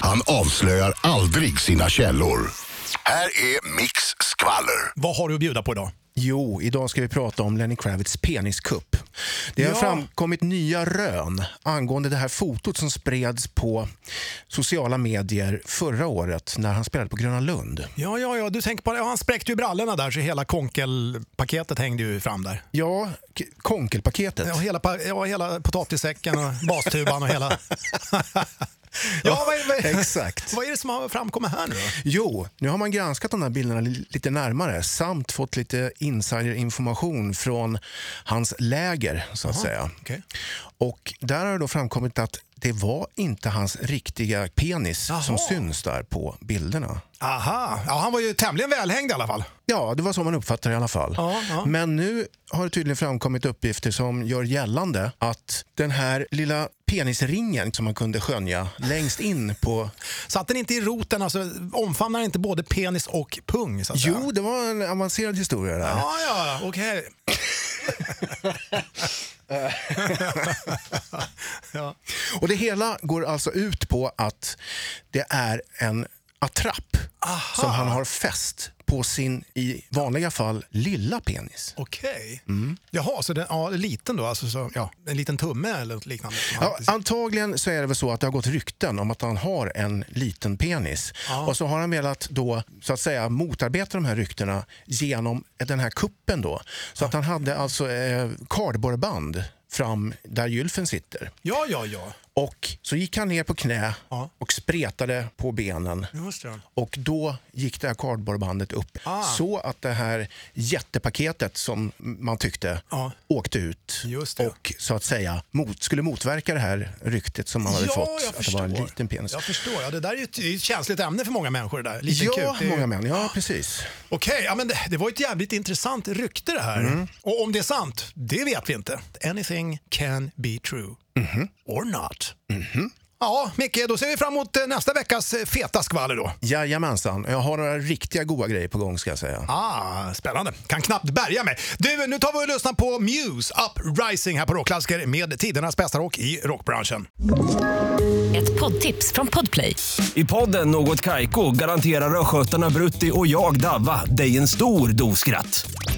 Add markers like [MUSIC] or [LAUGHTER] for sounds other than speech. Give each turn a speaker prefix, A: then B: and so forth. A: Han avslöjar aldrig sina källor. Här är Mix Skvaller.
B: Vad har du att bjuda på idag?
C: Jo, idag ska vi prata om Lenny Kravitz peniskupp. Det har
B: Ja.
C: framkommit nya rön angående det här fotot som spreds på sociala medier förra året när han spelade på Gröna Lund.
B: Ja, ja, ja, du tänker på det. Ja, han spräckte ju brallorna där så hela konkelpaketet hängde ju fram där.
C: Ja, k- konkelpaketet.
B: Ja, hela, pa- ja, hela potatissäcken [LAUGHS] och bastuban och [LAUGHS] hela... ja, vad, är- vad, är-
C: Exakt.
B: vad är det som har framkommit här nu då?
C: Jo, nu har man granskat de här bilderna li- lite närmare samt fått lite insiderinformation från hans läger, så att säga.
B: okej.
C: Och där har det då framkommit att det var inte hans riktiga penis
B: Jaha.
C: som syns där på bilderna.
B: Aha, ja, han var ju tämligen välhängd i alla fall.
C: Ja, det var så man uppfattar det i alla fall.
B: Ja, ja.
C: Men nu har det tydligen framkommit uppgifter som gör gällande att den här lilla penisringen som man kunde skönja längst in
B: [LAUGHS]
C: på...
B: Satt den inte i roten, alltså omfamnar inte både penis och pung? Så att säga?
C: Jo, det var en avancerad historia där.
B: Ja, ja, okej. [LAUGHS] ja.
C: Och det hela går alltså ut på att det är en attrapp som han har fäst på sin, i vanliga fall, lilla penis.
B: Okej.
C: Mm.
B: Jaha, så den, ja, liten då? Alltså, så, ja, en liten tumme eller något liknande? som han-
C: Ja, ah. antagligen så är det väl så att det har gått rykten om att han har en liten penis. Och så har han velat då, så att säga, motarbeta de här ryktena genom den här kuppen då. Så att han hade alltså eh, kardborreband fram där gylfen sitter.
B: ja, ja, ja.
C: Och så gick han ner på knä
B: Ja.
C: och spretade på benen.
B: Just det.
C: Och då gick det här kardborrebandet upp
B: Ah.
C: så att det här jättepaketet som man tyckte
B: Ja.
C: åkte ut
B: Just det.
C: och så att säga mot, skulle motverka det här ryktet som man hade
B: ja,
C: fått
B: jag
C: att det var en
B: förstår.
C: liten penis.
B: Jag förstår. Ja, det där är ju ett, det är ju ett känsligt ämne för många människor. Det där. Liten
C: Ja,
B: kuk, det är ju-
C: många män. Ja, precis.
B: Okej, ja, men det, det var ju ett jävligt intressant rykte det här.
C: Mm.
B: Och om det är sant, det vet vi inte. Anything can be true.
C: Mhm.
B: Or not. Ja, Micke, då ser vi fram emot eh, nästa veckas eh, feta skvaller då.
C: Jajamensan. Jag har några riktiga goda grejer på gång ska jag säga.
B: Ah, spännande. Kan knappt bärga mig. Du, nu tar vi och lyssnar på Muse Uprising här på Rockklassiker med tidernas bästa rock i rockbranschen.
D: Ett poddtips från Podplay.
E: I podden Något Kaiko garanterar östgötarna Brutti och jag, Davva, dig en stor dos skratt.